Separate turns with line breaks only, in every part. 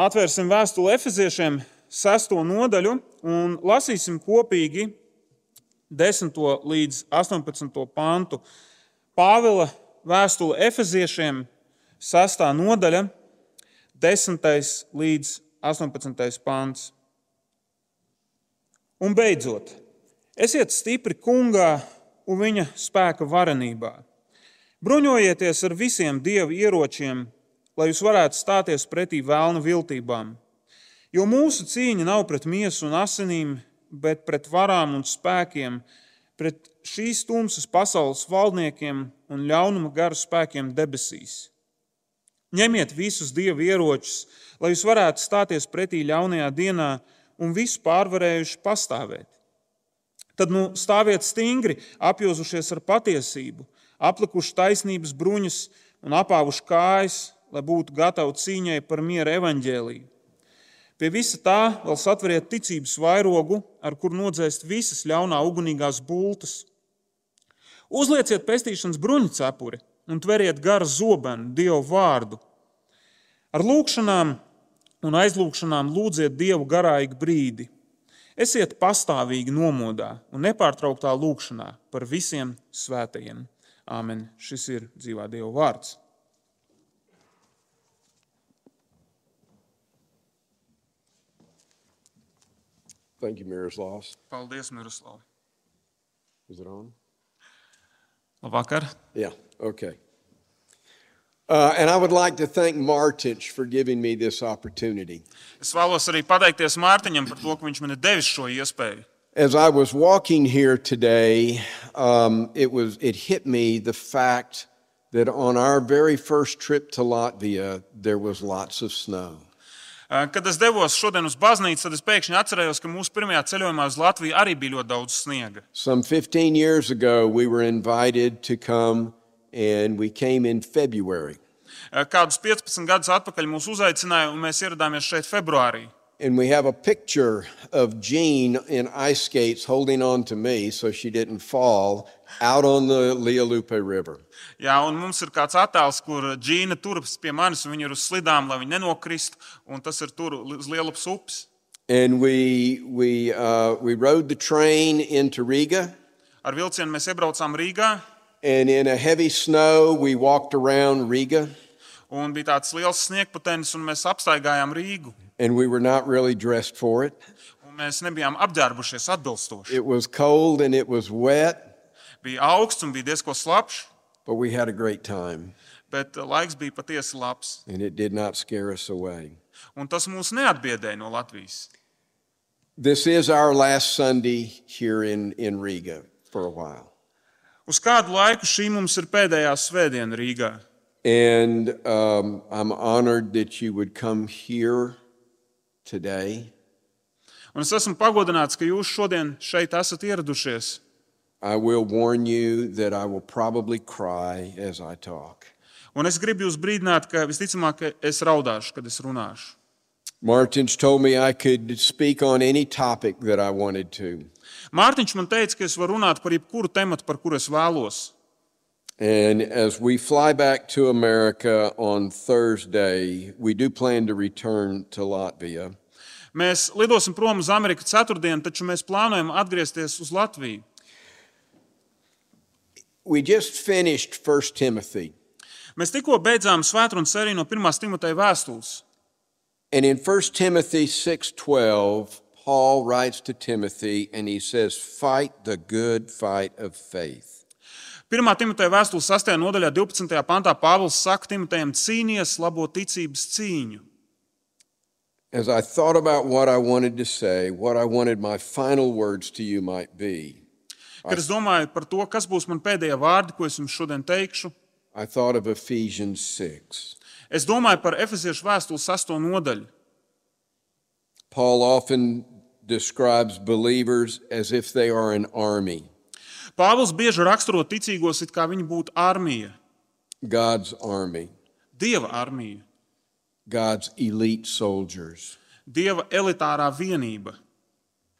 Atvērsim vēstuli Efeziešiem, sesto nodaļu, un lasīsim kopīgi 10. līdz 18. pantu. Pāvila vēstule Efeziešiem, sestā nodaļa, 10. līdz 18. pants. Un beidzot, esiet stipri kungā un viņa spēka varenībā. Bruņojieties ar visiem dieva ieročiem, lai jūs varētu stāties pretī vēlnu viltībām. Jo mūsu cīņa nav pret miesu un asinīm, bet pret varām un spēkiem, pret šīs tumsas pasaules valdniekiem un ļaunuma garu spēkiem debesīs. Ņemiet visus dievu ieročus, lai jūs varētu stāties pretī ļaunajā dienā un visu pārvarējuši pastāvēt. Tad nu stāviet stingri, apjozušies ar patiesību, aplikuši taisnības bruņas un apāvuši kājas, lai būtu gatavi cīņai par miera evaņģēlīju. Pie visa tā vēl satveriet ticības vairogu, ar kur nodzēst visas ļaunā ugunīgās bultas. Uzlieciet pestīšanas bruņu cepuri un tveriet garu zobenu, Dievu vārdu. Ar lūgšanām un aizlūgšanām lūdziet Dievu garā ik brīdi. Esiet pastāvīgi nomodā un nepārtrauktā lūgšanā par visiem svētajiem. Āmen. Šis ir dzīvā Dieva vārds.
Thank you, Miroslav.
Paldies, Miroslav.
Is it on?
Labvakar.
Yeah, okay. Uh, and I would like to thank Martich for giving me this opportunity.
Es vēlos arī pateikties Mārtiņam par to, ka viņš man ir devis šo iespēju.
As I was walking here today, um, it, was, it hit me the fact that on our very first trip to Latvia, there was lots of snow.
Eh, Kad es devos šodien uz baznīcu, tad es pēkšņi atcerējos, ka mūsu pirmajā ceļojumā uz Latviju arī bija ļoti daudz sniega.
Some 15 years ago, we were invited to come, and we came in February.
Eh, Kādus 15 gadus atpakaļ mūs uzaicināja, un mēs ieradāmies šeit februārī.
And we have a picture of Jean in ice skates holding on to me so she didn't fall out on the Lealupe River.
Jā, un mums ir kāds attēls, kur džina turas pie manis, un viņa ir uz slidām, lai viņa nenokristu, un tas ir tur uz lielas upes.
And we, we, uh, we rode the train into Riga,
Ar vilcienu mēs iebraucām Rīgā,
and in a heavy snow, we walked around Riga,
un bija tāds liels sniegputenis, un mēs apstaigājām Rīgu.
and we were not really dressed for it.
Un mēs nebijām apģērbušies atbilstoši.
It was cold and it was wet,
Bija augsts un bija diezgan slapjš,
but we had a great time,
bet eh, laiks bija patiesi labs.
and it did not scare us away.
Un tas mūs neatbiedēja no Latvijas.
This is our last Sunday here in, in Riga for a while.
Uz kādu laiku šī mums ir pēdējā svētdiena Rīgā.
And um, I'm honored that you would come here today.
Un es esmu pagodināts, ka jūs šodien šeit esat ieradušies.
I will warn you that I will probably cry as I talk.
Un es gribu jūs brīdināt, ka visticamāk ka es raudāšu, kad es runāšu.
Martins told me I could speak on any topic that I wanted to.
Mārtiņš man teica, ka es varu runāt par jebkuru tematu, par kuru es vēlos.
And as we fly back to America on Thursday, we do plan to return to Latvia.
Mēs lidosim prom uz Ameriku ceturtdien, taču mēs plānojam atgriezties uz Latviju.
We just finished 1 Timothy.
Mēs tikko beidzām svētdienas sēriju no 1. Timoteja vēstules.
And in 1 Timothy 6:12, Paul writes to Timothy and he says, "Fight the good fight of faith."
1. Timoteja vēstules 6. nodaļā, 12. pantā Pāvils saka Timotejam: cīnīties labo ticības cīņu.
As I thought about what I wanted to say, what I wanted my final words to you might be,
Kad es domāju par to, kas būs man pēdējie vārdi, ko es jums šodien teikšu,
I thought of Ephesians 6.
es domāju par Efeziešu vēstules 6. nodaļu.
Paul often describes believers as if they are an army,
Pāvils bieži raksturo ticīgos, it kā viņi būtu armija,
God's army,
dieva armija,
God's elite soldiers.
dieva elitārā vienība.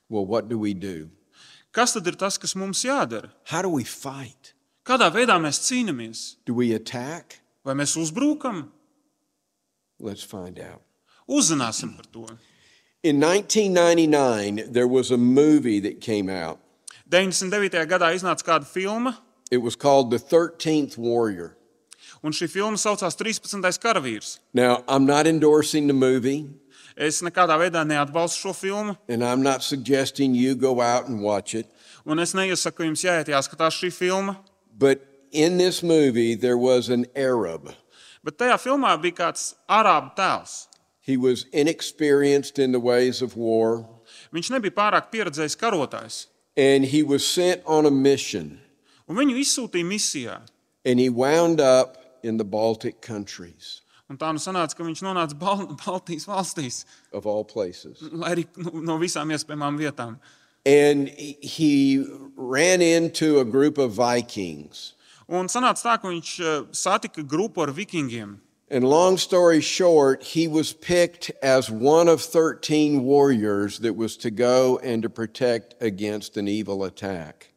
Well, what do we do?
Kas tad ir tas, kas mums jādara?
How do we fight?
Kādā veidā mēs cīnāmies?
Do we attack?
Vai mēs uzbrukam?
Let's find out.
Uzzināsim par to.
In 1999, there was a movie that came out.
99. gadā iznāca kāda filma,
It was called The 13th Warrior.
un šī filma saucās 13. karavīrs.
Now, I'm not endorsing the movie,
Es nekādā veidā neatbalstu šo filmu,
and I'm not suggesting you go out and watch it.
un es neiesaku jums jāiet jāskatās šī filma.
But in this movie, there was an Arab.
Bet tajā filmā bija kāds arābu tēls.
He was inexperienced in the ways of war,
Viņš nebija pārāk pieredzējis karotājs,
and he was sent on a mission,
un viņu izsūtīja misijā.
and he wound up in the Baltic countries,
Un tā nu sanāca, ka viņš nonāca Bal Baltijas valstīs,
of all places.
lai arī nu, no visām iespējamām vietām.
And he ran into a group of Vikings.
Un sanāca tā, ka viņš eh, satika grupu ar vikingiem.
And long story short, he was picked as one of 13 warriors that was to go and to protect against an evil attack.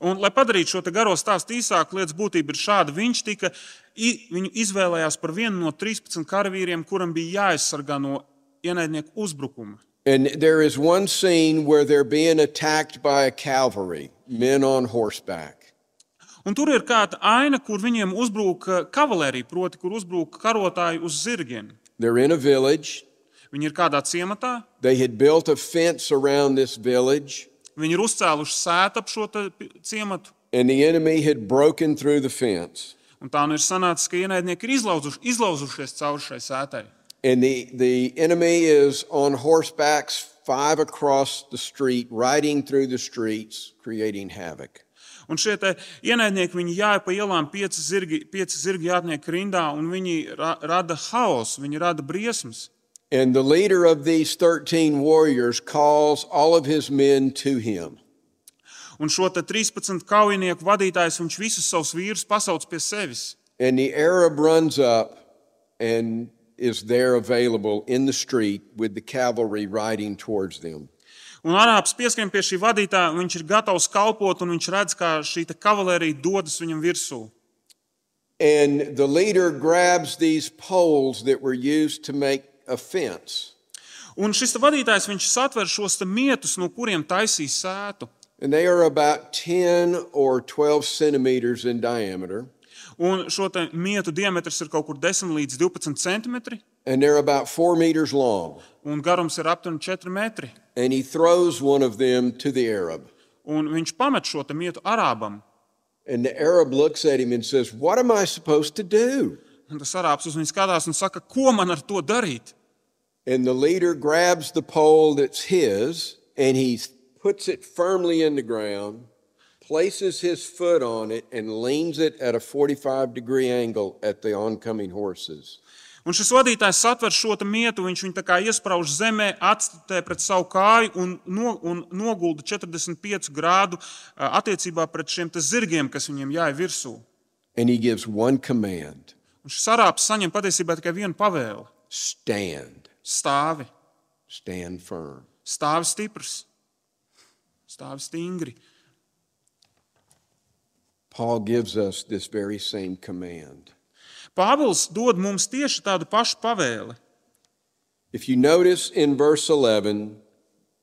Un, lai padarītu šo te garo stāstu īsāku, lietas būtība ir šāda. Viņš tika, i- viņu izvēlējās par vienu no 13 karavīriem, kuram bija jāaizsargā no ienaidnieku uzbrukuma.
And there is one scene where they're being attacked by a cavalry, men on horseback.
Un tur ir kāda aina, kur viņiem uzbrūk eh, kavalērija, proti, kur uzbrūk karotāji uz zirgiem.
They're in a village.
Viņi ir kādā ciematā,
They had built a fence around this village,
viņi ir uzcēluši sētu ap šo te pi- ciematu.
and the enemy had broken through the fence.
Un tā nu ir sanācis, ka ienaidnieki ir izlauzuši, izlauzušies cauri šai sētai.
And the, the enemy is on horsebacks five across the street, riding through the streets, creating havoc.
Un šie te ienaidnieki, viņi jāja pa ielām, pieci zirgi, pieci zirgi jātniek rindā, un viņi ra rada haosu, viņi rada briesmas.
And the leader of these 13 warriors calls all of his men to him.
Un šo te 13 kaujinieku vadītājs, viņš visus savus vīrus pasauc pie sevis.
And the Arab runs up and is there available in the street with the cavalry riding towards them.
Un arābs pieskrien pie šī vadītāja, viņš ir gatavs kalpot, un viņš redz, kā šī te kavalērija dodas viņam virsū.
And the leader grabs these poles that were used to make a fence,
Un šis te vadītājs, viņš satver šos te mietus, no kuriem taisīs sētu.
and they are about 10 or 12 centimeters in diameter,
Un šo te mietu diametrs ir kaut kur 10 līdz 12 centimetri,
and they're about four meters long.
un garums ir aptuveni 4 metri.
And he throws one of them to the Arab.
Un viņš pamet šo te mietu arābam.
And the Arab looks at him and says, What am I supposed to do?
Un tas arābs uz viņu skatās un saka, ko man ar to darīt?
And the leader grabs the pole that's his and he puts it firmly in the ground, places his foot on it, and leans it at a 45 degree angle at the oncoming horses.
Un šis vadītājs satver šo te mietu, viņš viņu tā kā iesprauž zemē, atstutē pret savu kāju un, no, un nogulda 45 grādu ā, attiecībā pret šiem te zirgiem, kas viņiem jāja virsū.
And he gives one command
Un šis arābs saņem patiesībā tikai vienu pavēli
stand,
- stāvi,
stand firm.
stāvi stiprs, stāvi stingri.
Paul gives us this very same command.
Pāvils dod mums tieši tādu pašu pavēli.
If you notice in verse 11,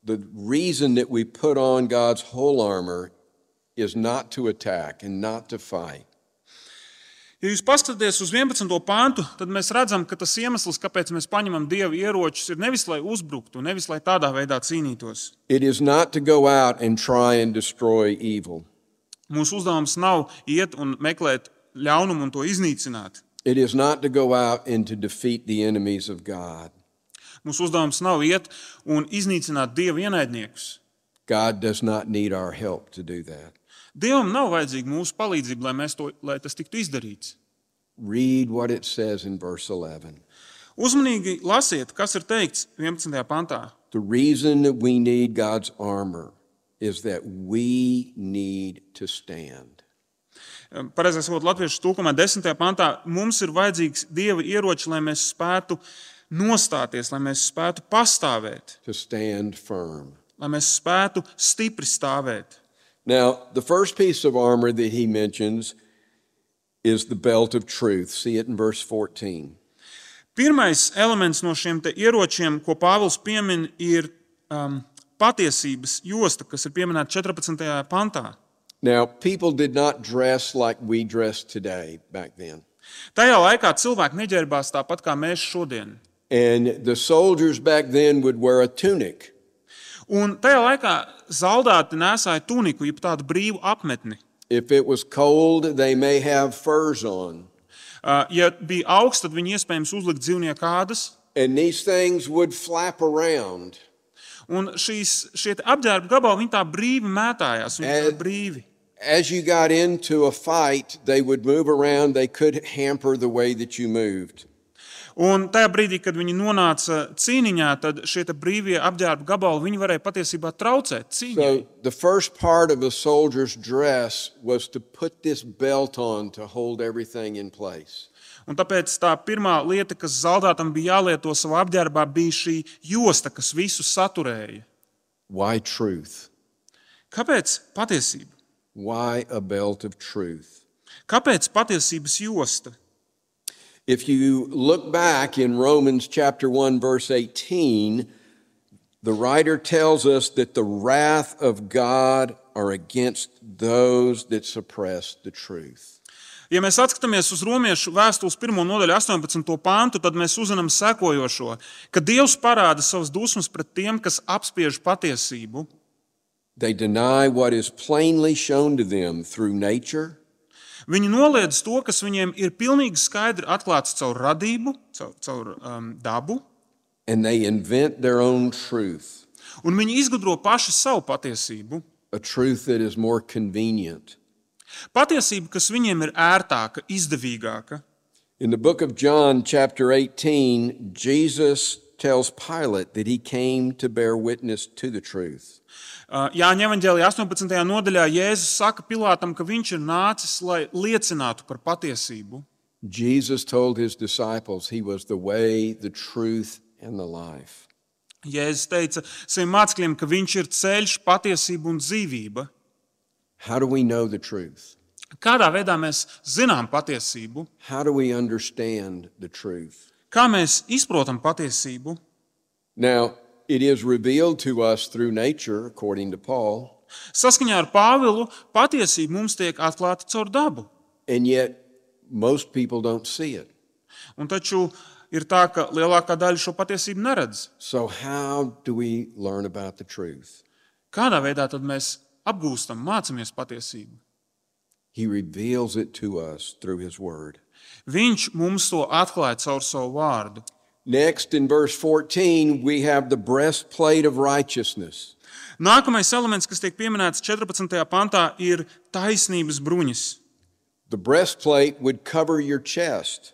the reason that we put on God's whole armor is not to attack and not to fight.
Ja jūs paskatāties uz 11. pāntu, tad mēs redzam, ka tas iemesls, kāpēc mēs paņemam dievu ieročus, ir nevis lai uzbruktu, nevis lai tādā veidā cīnītos.
It is not to go out and try and destroy evil.
Mūsu uzdevums nav iet un meklēt ļaunumu un to iznīcināt.
It is not to go out and to defeat the enemies of God.
Mūsu uzdevums nav iet un iznīcināt dievu ienaidniekus.
God does not need our help to do that.
Dievam nav vajadzīga mūsu palīdzība, lai, mēs to, lai tas tiktu izdarīts.
Read what it says in verse 11.
Uzmanīgi lasiet, kas ir teikts 11. pantā.
The reason that we need God's armor is that we need to stand.
Pareizais vārds latviešu tūkumā, 10. pantā, mums ir vajadzīgs dieva ieroči, lai mēs spētu nostāties, lai mēs spētu pastāvēt,
To stand firm.
lai mēs spētu stipri stāvēt.
Now, the first piece of armor that he mentions is the belt of truth. See it in verse 14.
Pirmais elements no šiem te ieročiem, ko Pāvils piemin, ir um, patiesības josta, kas ir pieminēta 14. pantā.
Now, people did not dress like we dress today back then.
Tajā laikā cilvēki neģērbās tāpat kā mēs šodien.
And the soldiers back then would wear a tunic.
Un tajā laikā zaldāti nesāja tuniku, jeb tādu brīvu apmetni.
If it was cold, they may have furs on.
Uh, Ja bija augsts, tad viņi iespējams uzlika dzīvnieku kādas.
And these things would flap around.
Un šīs, šie te apģērba gabali viņi tā brīvi mētājās. Viņi
Ē.
tā brīvi.
As you got into a fight, they would move around. They could hamper the way that you moved.
Un tajā brīdī, kad viņi nonāca cīniņā, tad šie te brīvie apģērba gabali viņi varēja patiesībā traucēt cīņai.
So, the first part of a soldier's dress was to put this belt on to hold everything in place.
Un tāpēc tā pirmā lieta, kas zaldātam bija jālieto savā apģērbā, bija šī josta, kas visu saturēja.
Why truth?
Kāpēc patiesība?
Why a belt of truth?
Kāpēc patiesības josta?
If you look back in Romans chapter 1, verse 18, the writer tells us that the wrath of God are against those that suppress the truth.
Ja mēs skatāmies uz romiešu vēstules 1. nodaļu, 18. pāntu, tad mēs uzzinām sekojošo, ka Dievs parāda savas dusmas pret tiem, kas apspiež patiesību.
They deny what is plainly shown to them through nature,
Viņi noliedz to, kas viņiem ir pilnīgi skaidri atklāts caur radību, caur, caur um, dabu,
and they invent their own truth,
un viņi izgudro paši savu patiesību.
a truth that is more convenient.
Patiesība, kas viņiem ir ērtāka, izdevīgāka.
In the book of John, chapter 18, Jesus tells Pilate that he came to bear witness to the truth.
Uh, Jāņa Evanģēlī 18. nodaļā Jēzus saka Pilātam, ka viņš ir nācis, lai liecinātu par patiesību.
Jesus told his disciples he was the way, the truth, and the life.
Jēzus teica saviem mācekļiem, ka viņš ir ceļš, patiesība un dzīvība.
How do we know the truth?
Kādā veidā mēs zinām patiesību?
How do we understand the truth?
Kā mēs izprotam patiesību?
Now, it is revealed to us through nature, according to Paul,
Saskaņā ar Pāvilu patiesība mums tiek atklāta caur dabu.
and yet most people don't see it.
Un taču ir tā, ka lielākā daļa šo patiesību neredz.
So, how do we learn about the truth?
Kādā veidā tad mēs apgūstam, mācāmies patiesību?
He reveals it to us through his word.
Viņš mums to atklāja caur savu vārdu.
Next, in verse 14, we have the breastplate of righteousness.
Nākamais elements, kas tiek pieminēts 14. pantā, ir taisnības bruņas.
The breastplate would cover your chest,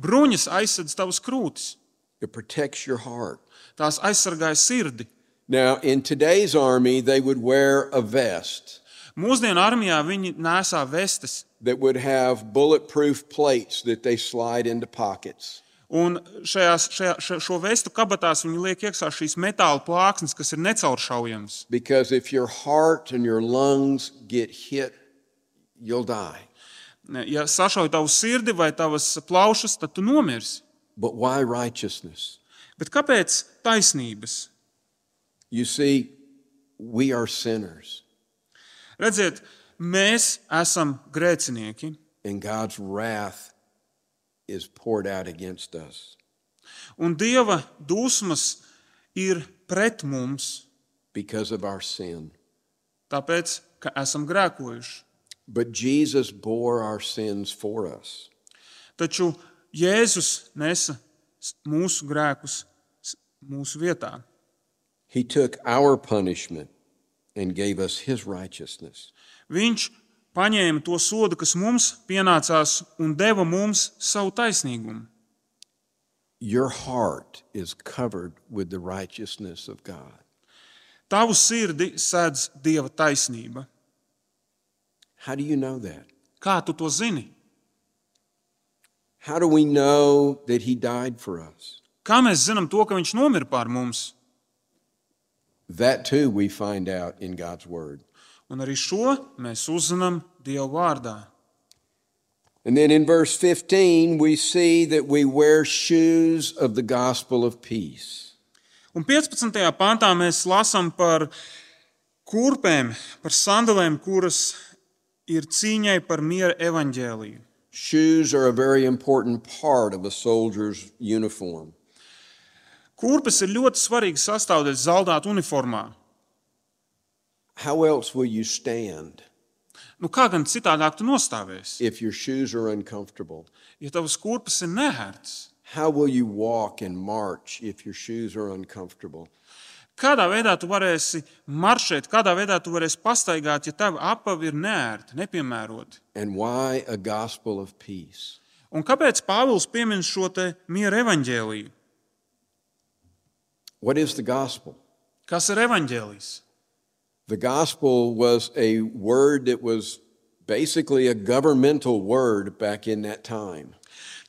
Bruņas aizsedz tavas krūtis,
it protects your heart.
tās aizsargāja sirdi.
Now, in today's army, they would wear a vest
Mūsdienu armijā viņi nesā vestes,
that would have bulletproof plates that they slide into pockets.
un šajās, šajā, ša- šo vestu kabatās viņi liek iekšā šīs metāla plāksnes, kas ir necauršaujams.
Because if your heart and your lungs get hit, you'll die.
Ne, Ja sašauj tavu sirdi vai tavas plaušas, tad tu nomirsi.
But why righteousness?
Bet kāpēc taisnības?
You see, we are sinners,
Redziet, mēs esam grēcinieki,
and God's wrath is poured out against us.
un Dieva dusmas ir pret mums,
because of our sin.
tāpēc, ka esam grēkojuši.
But Jesus bore our sins for us.
Taču Jēzus nesa s- mūsu grēkus s- mūsu vietā.
He took our punishment and gave us his righteousness.
Viņš paņēma to sodu, kas mums pienācās, un deva mums savu taisnīgumu.
Your heart is covered with the righteousness of God.
Tavu sirdi sēdz Dieva taisnība.
How do you know that?
Kā tu to zini?
How do we know that he died for us?
Kā mēs zinām to, ka Viņš nomira pār mums?
That too we find out in God's word.
Un arī šo mēs uzzinām Dieva vārdā.
And then in verse 15, we see that we wear shoes of the gospel of peace.
Un 15. pantā mēs lasām par kurpēm, par sandalēm, kuras ir cīņai par miera evaņģēliju.
Shoes are a very important part of a soldier's uniform.
Kurpes ir ļoti svarīga sastāvdaļa zeltāta uniformā.
How else will you stand
Nu, kā gan citādāk tu nostāvēsi?
if your shoes are uncomfortable?
Ja tavas kurpes ir nērtas,
How will you walk and march if your shoes are uncomfortable?
kādā veidā tu varēsi maršēt, kādā veidā tu varēsi pastaigāt, ja tava apavi ir nērti, nepiemēroti?
And why a gospel of peace?
Un kāpēc Pāvils piemin šo te miera evaņģēliju?
What is the gospel?
Kas ir evaņģēlijs?
The gospel was a word that was basically a governmental word back in that time.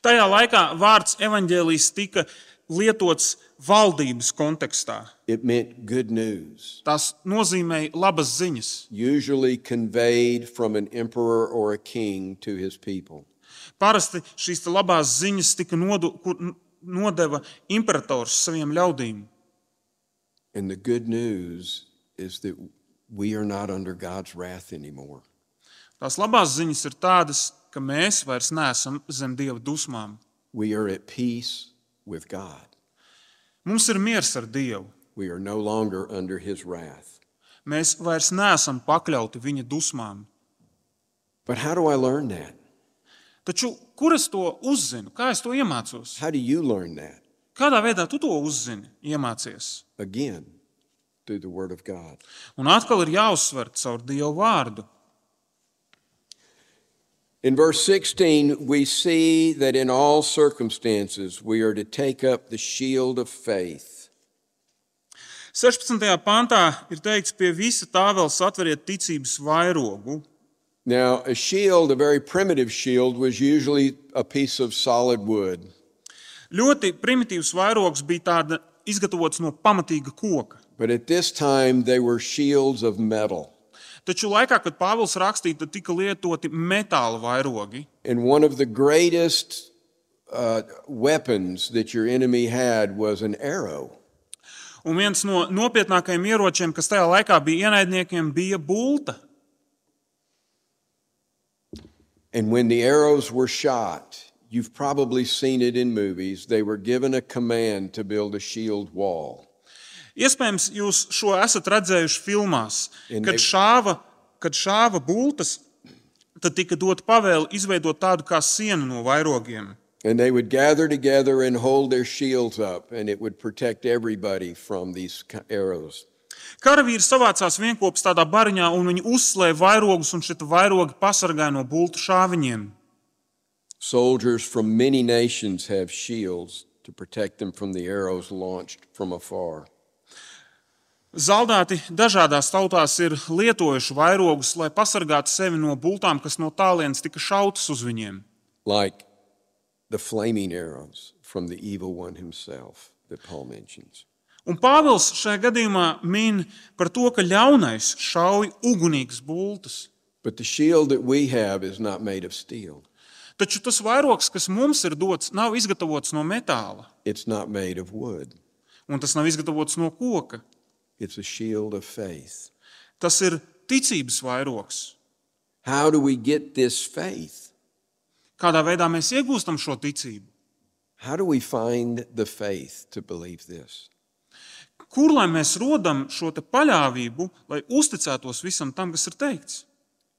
Tajā laikā vārds evaņģēlijs tika lietots valdības kontekstā.
It meant good news,
Tas nozīmēja labas ziņas,
usually conveyed from an emperor or a king to his people.
Parasti šīs te labās ziņas tika nodu, kur, n- nodeva imperators saviem ļaudīm.
And the good news is that we are not under God's wrath anymore.
Tās labās ziņas ir tādas, ka mēs vairs neesam zem dieva dusmām.
We are at peace with God.
Mums ir miers ar Dievu.
We are no longer under his wrath.
Mēs vairs neesam pakļauti viņa dusmām.
But how do I learn that?
Taču kur es to uzzinu? Kā es to iemācos?
How do you learn that?
Kādā veidā tu to uzzini, iemācies?
Again, through the word of God.
Un atkal ir jāuzsver caur Dieva vārdu.
In verse 16, we see that in all circumstances we are to take up the shield of faith.
16. pantā ir teikts, pie visa tā vēl satveriet ticības vairogu,
Now, a shield, a very primitive shield, was usually a piece of solid wood.
Ļoti primitīvs vairogs bija tāda, izgatavots no pamatīga koka.
But at this time, they were shields of metal.
Taču laikā, kad Pāvils rakstīja, tad tika lietoti metāla vairogi.
And one of the greatest uh, weapons that your enemy had was an arrow.
Un viens no nopietnākajiem ieročiem, kas tajā laikā bija ienaidniekiem, bija bulta.
And when the arrows were shot, you've probably seen it in movies, they were given a command to build a shield wall.
Iespējams, jūs šo esat redzējuši filmās.
Ja ne-
Kad šāva, kad šāva bultas, tad tika dota pavēle izveidot tādu kā sienu no vairogiem.
And they would gather together and hold their shields up, and it would protect everybody from these ca- arrows.
Karavīri savācās vienopus tādā bariņā, un viņi uzslēja vairogus, un šie vairogi pasargāja no bultu šāviņiem.
Soldiers from many nations have shields to protect them from the arrows launched from afar.
Zaldāti dažādās tautās ir lietojuši vairogus, lai pasargātu sevi no bultām, kas no tālienes tika šautas uz viņiem.
like the flaming arrows from the evil one himself that Paul mentions.
Un Pāvils šajā gadījumā min par to, ka ļaunais šauj ugunīgas bultas.
But the shield that we have is not made of steel,
Taču tas vairogs, kas mums ir dots, nav izgatavots no metāla,
it's not made of wood,
un tas nav izgatavots no koka.
it's a shield of faith.
Tas ir ticības vairogs.
How do we get this faith?
Kādā veidā mēs iegūstam šo ticību?
How do we find the faith to believe this?
Kur lai mēs rodam šo te paļāvību, lai uzticētos visam tam, kas ir teikts?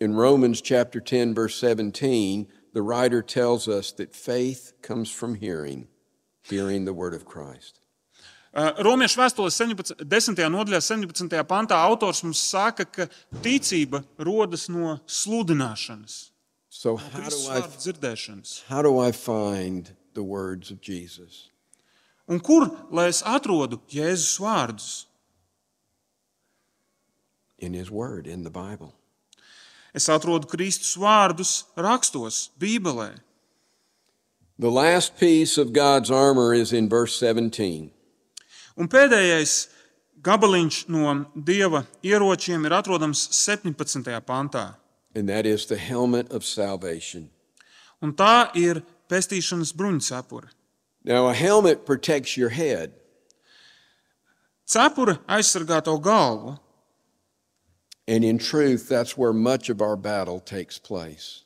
In Romans chapter 10 verse 17, the writer tells us that faith comes from hearing, hearing the word of Christ.
Uh, Romiešu vēstulē 17, 10. nodaļā, 17. pantā autors mums saka, ka ticība rodas no sludināšanas,
So how do
Kristus
I
vārdu dzirdēšanas.
how do I find the words of Jesus?
Un kur lai es atrodu Jēzus vārdus?
in His Word, in the Bible.
Es atrodu Kristus vārdus rakstos, Bībelē.
The last piece of God's armor is in verse 17.
Un pēdējais gabaliņš no dieva ieročiem ir atrodams 17. pantā.
And that is the helmet of salvation.
Un un tā ir pestīšanas bruņcepure.
Now, a helmet protects your head.
Cepure aizsargā tavu galvu,
And in truth, that's where much of our battle takes place.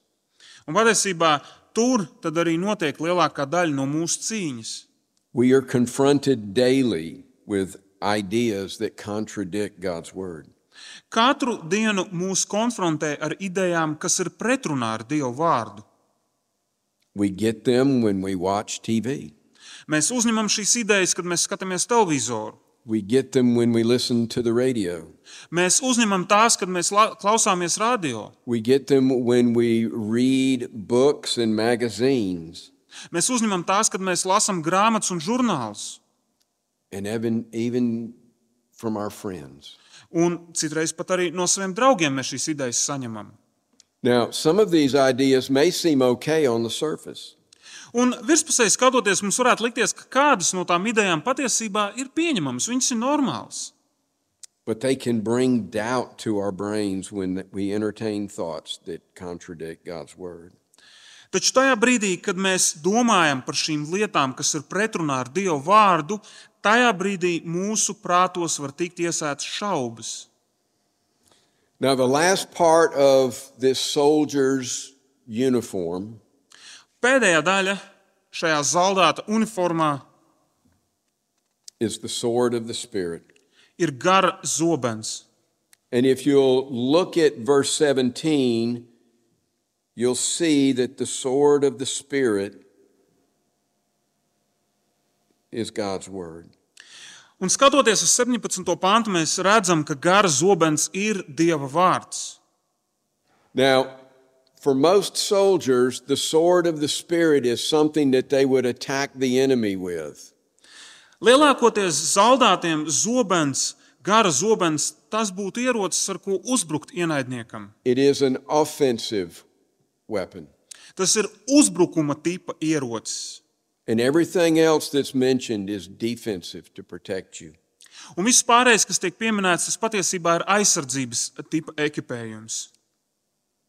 un patiesībā tur tad arī notiek lielākā daļa no mūsu cīņas.
We are confronted daily with ideas that contradict God's word.
Katru dienu mūs konfrontē ar idejām, kas ir pretrunā ar Dievu vārdu.
We get them when we watch TV,
Mēs uzņemam šīs idejas, kad mēs skatāmies televizoru.
we get them when we listen to the radio,
Mēs uzņemam tās, kad mēs la- klausāmies radio.
we get them when we read books and magazines,
Mēs uzņemam tās, kad mēs lasām grāmatas un žurnālus,
and even, even from our friends.
un citreiz pat arī no saviem draugiem mēs šīs idejas saņemam.
Now, some of these ideas may seem okay on the surface,
Un virspusē skatoties, mums varētu likties, ka kādas no tām idejām patiesībā ir pieņemamas, viņas ir normālas.
but they can bring doubt to our brains when we entertain thoughts that contradict God's word.
Taču tajā brīdī, kad mēs domājam par šīm lietām, kas ir pretrunā ar Dieva vārdu, tajā brīdī mūsu prātos var tikt iesētas šaubas.
Now, the last part of this soldier's uniform
Pēdējā daļa šajā zaldāta uniformā
is the sword of the Spirit.
ir gara zobens.
And if you'll look at verse 17, you'll see that the sword of the Spirit is God's word.
Un skatoties uz 17. pāntu, mēs redzam, ka gara zobens ir Dieva vārds.
Now, for most soldiers, the sword of the Spirit is something that they would attack the enemy with.
Lielākoties zaldātiem zobens, gara zobens, tas būtu ierocis, ar ko uzbrukt ienaidniekam.
It is an offensive weapon.
Tas ir uzbrukuma tipa ierocis.
And everything else that's mentioned is defensive to protect you.
Un viss pārējais, kas tiek pieminēts, tas patiesībā ir aizsardzības tipa ekipējums.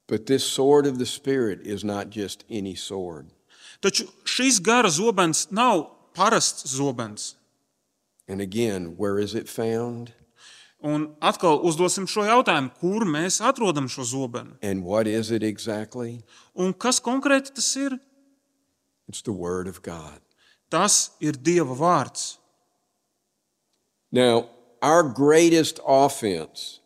But this sword of the Spirit is not just any sword.
Taču šis gara zobens nav parasts zobens.
And again, where is it found?
Un atkal uzdosim šo jautājumu, kur mēs atrodam šo zobenu
And what is it exactly?
un kas konkrēti tas ir.
It's the Word of God.
Tas ir Dieva vārds.
Now, our greatest offense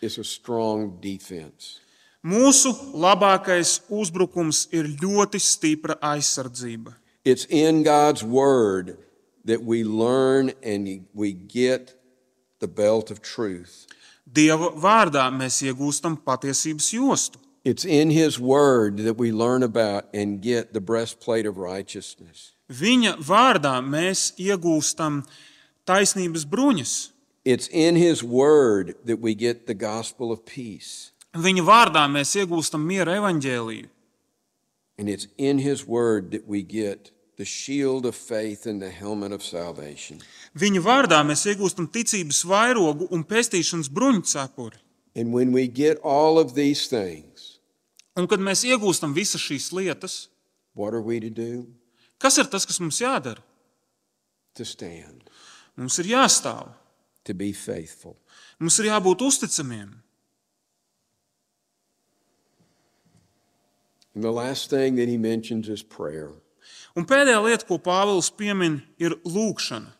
is a strong defense.
Mūsu labākais uzbrukums ir ļoti stipra aizsardzība.
It's in God's Word that we learn and we get the belt of truth.
Dieva vārdā mēs iegūstam patiesības jostu.
It's in His Word that we learn about and get the breastplate of righteousness.
Viņa vārdā mēs iegūstam taisnības bruņas.
It's in His Word that we get the gospel of peace.
Viņa vārdā mēs iegūstam miera evaņģēlīju.
And it's in His Word that we get the shield of faith and the helmet of salvation.
Viņa vārdā mēs iegūstam ticības vairogu un pestīšanas bruņu cepuri.
And when we get all of these things,
Un kad mēs iegūstam visas šīs lietas,
what are we to do?
kas ir tas, kas mums jādara?
To stand,
Mums ir jāstāv,
to be faithful.
mums ir jābūt uzticamiem.
And the last thing that He mentions is prayer.
Un pēdējā lieta, ko Pāvils piemin, ir lūkšana.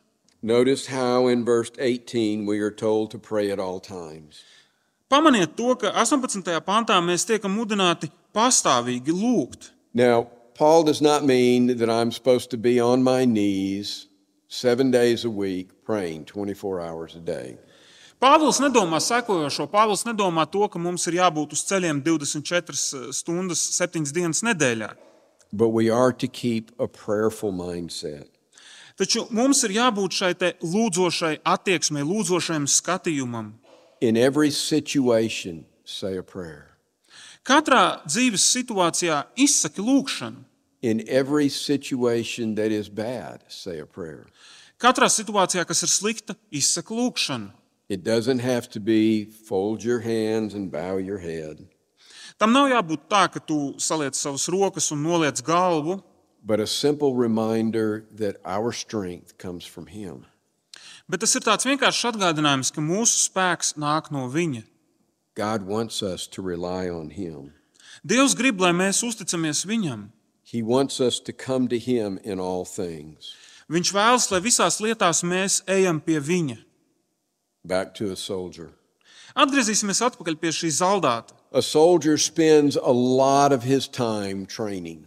Notice how in verse 18 we are told to pray at all times.
Pamaniet to, ka 18. pantā mēs tiekam mudināti pastāvīgi lūgt.
Now, Paul does not mean that I'm supposed to be on my knees seven days a week praying 24 hours a day.
Pāvils nedomā sekojošo. Pāvils nedomā to, ka mums ir jābūt uz ceļiem 24 stundas, 7 dienas nedēļā.
But we are to keep a prayerful mindset.
Taču mums ir jābūt šai te lūdzošai attieksmei, lūdzošajam skatījumam.
In every situation, say a prayer.
Katrā dzīves situācijā izsaki lūgšanu.
In every situation that is bad, say a prayer.
Katrā situācijā, kas ir slikta, izsaki lūgšanu.
It doesn't have to be fold your hands and bow your head.
Tam nav jābūt tā, ka tu saliec savas rokas un noliec galvu,
but a simple reminder that our strength comes from Him.
bet tas ir tāds vienkāršs atgādinājums, ka mūsu spēks nāk no Viņa.
God wants us to rely on Him,
Dievs grib, lai mēs uzticamies Viņam.
He wants us to come to Him in all things.
Viņš vēlas, lai visās lietās mēs ejam pie Viņa.
Back to a soldier.
Atgriezīsimies atpakaļ pie šī zaldāta.
A soldier spends a lot of his time training.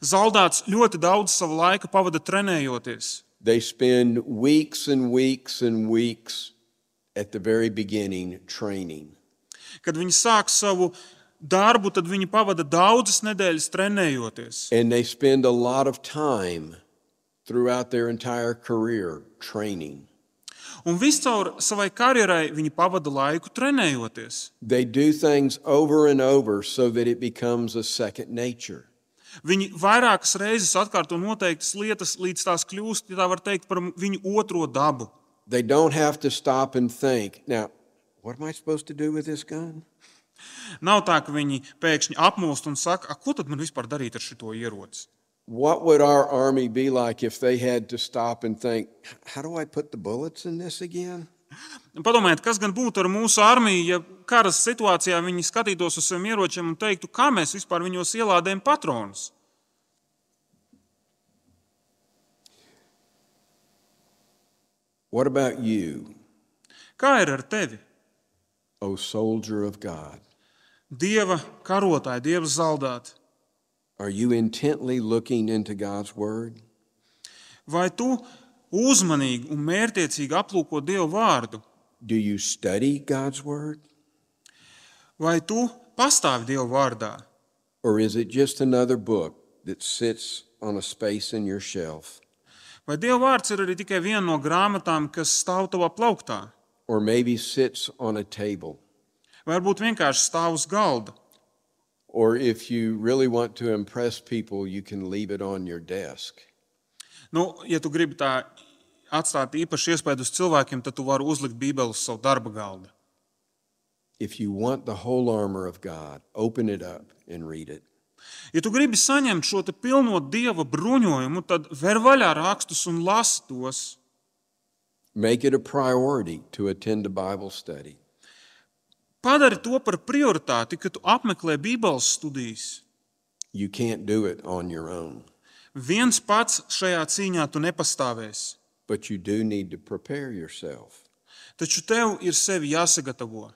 Zaldāts ļoti daudz sava laika pavada trenējoties.
They spend weeks and weeks and weeks at the very beginning training.
Kad viņi sāk savu darbu, tad viņi pavada daudzas nedēļas trenējoties.
And they spend a lot of time throughout their entire career training.
Un viscaur savai karjerai viņi pavada laiku trenējoties.
They do things over and over so that it becomes a second nature.
Viņi vairākas reizes atkārto noteiktas lietas, līdz tās kļūst, ja tā var teikt, par viņu otro dabu.
They don't have to stop and think, now, what am I supposed to do with this gun?
Nav tā, ka viņi pēkšņi apmūst un saka, "A, ko tad man vispār darīt ar šo ieroci?
What would our army be like if they had to stop and think, how do I put the bullets in this again?
Padomājiet, kas gan būtu ar mūsu armiju, ja karas situācijā viņi skatītos uz saviem ieročiem un teiktu, kā mēs vispār viņos ielādējam patronus.
What about you,
Kā ir ar tevi?
O soldier of God?
Dieva karotāji, dieva zaldāti.
Are you intently looking into God's Word?
Vai tu uzmanīgi un mērķiecīgi aplūko Dievu vārdu,
Do you study God's Word?
vai tu pastāvi Dievu vārdā,
Or is it just another book that sits on a space in your shelf?
vai Dieva vārds ir arī tikai viena no grāmatām, kas stāv tavā plauktā,
Or maybe sits on a table?
vai varbūt vienkārši stāv uz galda,
Or if you really want to impress people, you can leave it on your desk.
Nu, ja tu gribi tā atstāt īpašu iespēju uz cilvēkiem, tad tu vari uzlikt Bībeli uz savu darba galdu.
If you want the whole armor of God, open it up and read it.
Ja tu gribi saņemt šo te pilno dieva bruņojumu, tad ver vaļā rakstus un lasi tos.
Make it a priority to attend a Bible study.
Padari to par prioritāti, kad tu apmeklē Bībeles studijas.
You can't do it on your own,
Viens pats šajā cīņā tu nepastāvēsi,
but you do need to prepare yourself.
taču tev ir sevi jāsagatavo.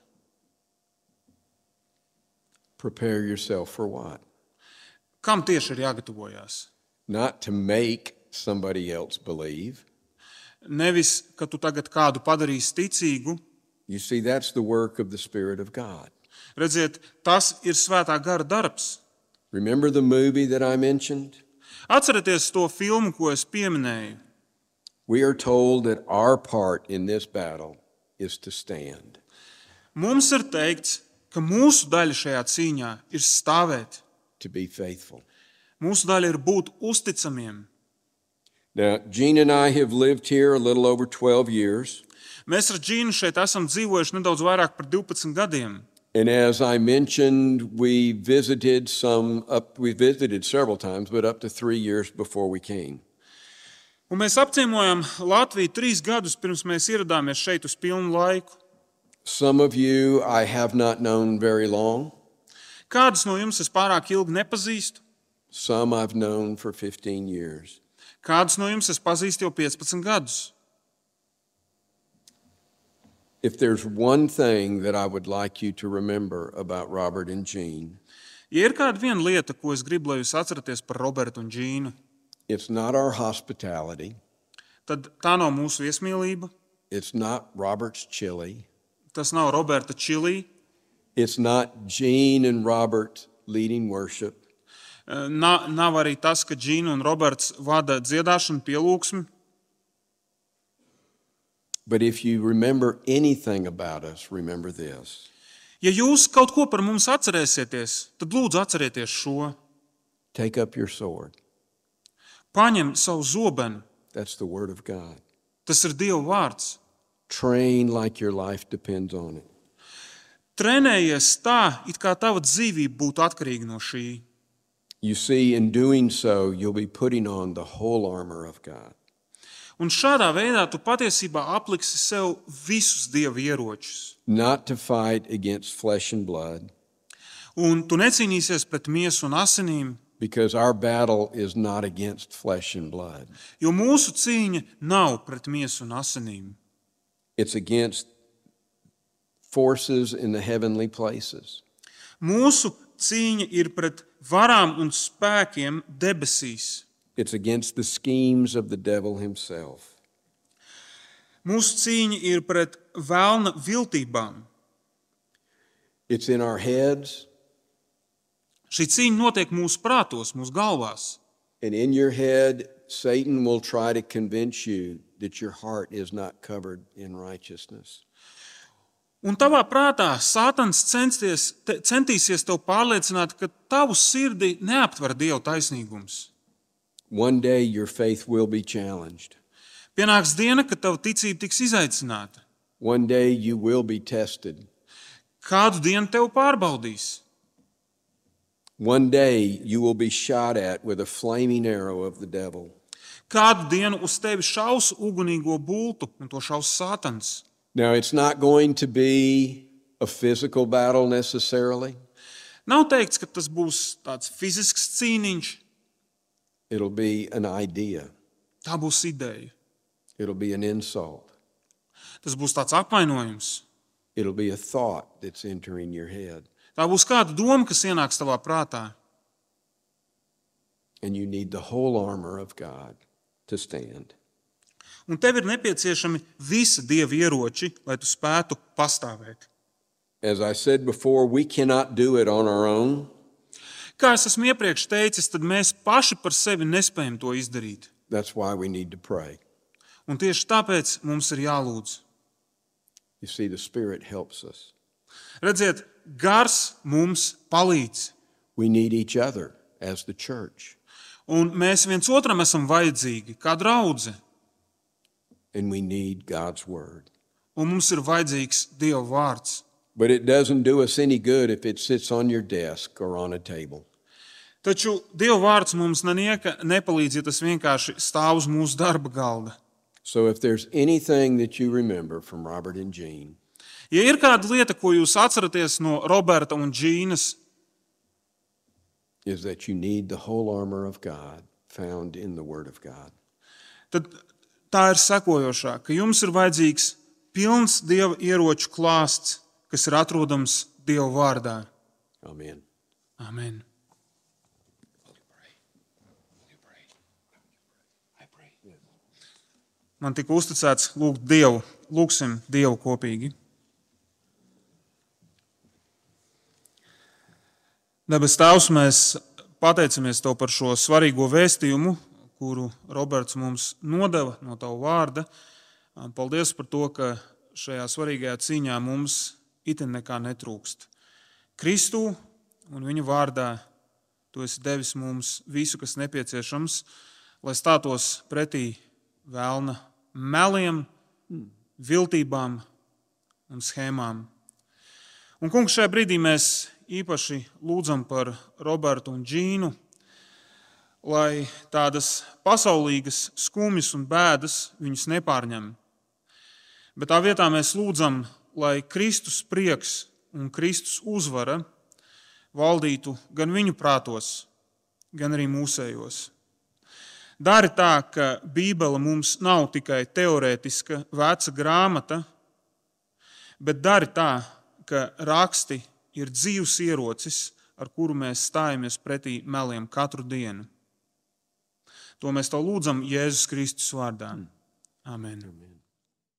Prepare yourself for what?
Kam tieši ir jāgatavojas?
Not to make somebody else believe.
Nevis, ka tu tagad kādu padarīsi ticīgu.
You see, that's the work of the Spirit of God.
Redziet, tas ir svētā gara darbs.
Remember the movie that I mentioned?
Atcerieties to filmu, ko es pieminēju.
We are told that our part in this battle is to stand.
Mums ir teikts, ka mūsu daļa šajā cīņā ir stāvēt.
to be faithful.
Mūsu daļa ir būt uzticamiem.
Now, Gene and I have lived here a little over 12 years,
Mēs ar Džīnu šeit esam dzīvojuši nedaudz vairāk par 12 gadiem.
and as I mentioned, we visited some up we visited several times, but up to 3 years before we came.
Un mēs apciemojam Latviju trīs gadus pirms mēs ieradāmies šeit uz pilnu laiku.
Some of you I have not known very long.
Kādus no jums es pārāk ilgi nepazīstu,
Some I've known for 15 years.
kādus no jums es pazīstu jau 15 gadus.
If there's one thing that I would like you to remember about Robert and Gene,
Ja ir kāda viena lieta, ko es gribu, lai jūs atceraties par Robertu un Džīnu,
it's not our hospitality,
tad tā nav mūsu viesmīlība,
it's not Robert's chili,
tas nav Roberta Čilī,
it's not Gene and Robert leading worship.
Na, nav arī tas, ka Džina un Roberts vada dziedāšanu, pielūgsmi.
But if you remember anything about us, remember this.
Ja jūs kaut ko par mums atcerēsieties, tad lūdzu atcerieties šo.
Take up your sword.
Paņem savu zobenu,
That's the word of God.
tas ir Dieva vārds.
Train like your life depends on it.
Trenējies tā, it kā tava dzīvība būtu atkarīga no šī.
You see, in doing so, you'll be putting on the whole armor of God.
Un šādā veidā tu patiesībā apliksi sev visus dieva ieročus.
Not to fight against flesh and blood,
Un tu necīnīsies pret miesu un asinīm,
because our battle is not against flesh and blood,
jo mūsu cīņa nav pret miesu un asinīm.
it's against forces in the heavenly places.
Mūsu cīņa ir pret varām un spēkiem debesīs.
It's against the schemes of the devil himself.
Mūsu cīņa ir pret vēlna viltībām.
It's in our heads,
Šī cīņa notiek mūsu prātos, mūsu galvās.
and in your head, Satan will try to convince you that your heart is not covered in righteousness.
Un tavā prātā Sātans censties, te, centīsies tev pārliecināt, ka tavu sirdi neaptver Dieva taisnīgums.
One day your faith will be challenged.
Pienāks diena, kad tava ticība tiks izaicināta.
One day you will be tested.
Kādu dienu tev pārbaudīs?
One day you will be shot at with a flaming arrow of the devil.
Kādu dienu uz tevi šaus ugunīgo bultu, un to šaus Sātans.
Now, it's not going to be a physical battle necessarily,
Nav teikts, ka tas būs tāds fizisks cīniņš,
it'll be an idea,
tā būs ideja.
it'll be an insult,
Tas būs tāds apvainojums.
it'll be a thought that's entering your head,
Tā būs kāda doma, kas ienāks tavā prātā.
and you need the whole armor of God to stand.
Un tev ir nepieciešami visi dievi ieroči, lai tu spētu pastāvēt.
As I said before, we cannot do it on our own.
Kā es esmu iepriekš teicis, tad mēs paši par sevi nespējam to izdarīt.
That's why we need to pray.
Un tieši tāpēc mums ir jālūdz.
You see, the Spirit helps us.
Redziet, gars mums palīdz,
We need each other as the church,
un mēs viens otram esam vajadzīgi, kā draugi,
and we need God's word.
un mums ir vajadzīgs Dieva vārds.
But it doesn't do us any good if it sits on your desk or on a table.
Taču Dieva vārds mums nenieka, nepalīdz, ja tas vienkārši stāv uz mūsu darba galda.
So if there's anything that you remember from Robert and Jean,
Ja ir kāda lieta, ko jūs atceraties no Roberta un Džīnas,
is that you need the whole armor of God found in the Word of God.
tad tā ir sekojošā, ka jums ir vajadzīgs pilns dieva ieroču klāsts, kas ir atrodams Dieva vārdā.
Amen.
Amen. Man tika uzticēts lūgt Dievu. Lūksim Dievu kopīgi. Dabas Tēvs, mēs pateicamies Tev par šo svarīgo vēstījumu, kuru Roberts mums nodeva no Tava vārda. Paldies par to, ka šajā svarīgajā cīņā mums itin nekā netrūkst. Kristū un viņa vārdā tu esi devis mums visu, kas nepieciešams, lai stātos pretī vēlna meliem, viltībām un schēmām. Un, kungs, šajā brīdī mēs īpaši lūdzam par Robertu un Džīnu, lai tādas pasaulīgas skumjas un bēdas viņus nepārņem. Bet tā vietā mēs lūdzam, lai Kristus prieks un Kristus uzvara valdītu gan viņu prātos, gan arī mūsējos. Dari tā, ka Bībele mums nav tikai teorētiska, veca grāmata, bet dari tā, ka raksti ir dzīves ierocis, ar kuru mēs stājamies pretī meliem katru dienu. To mēs tev lūdzam Jēzus Kristus vārdā. Amen.
Amen.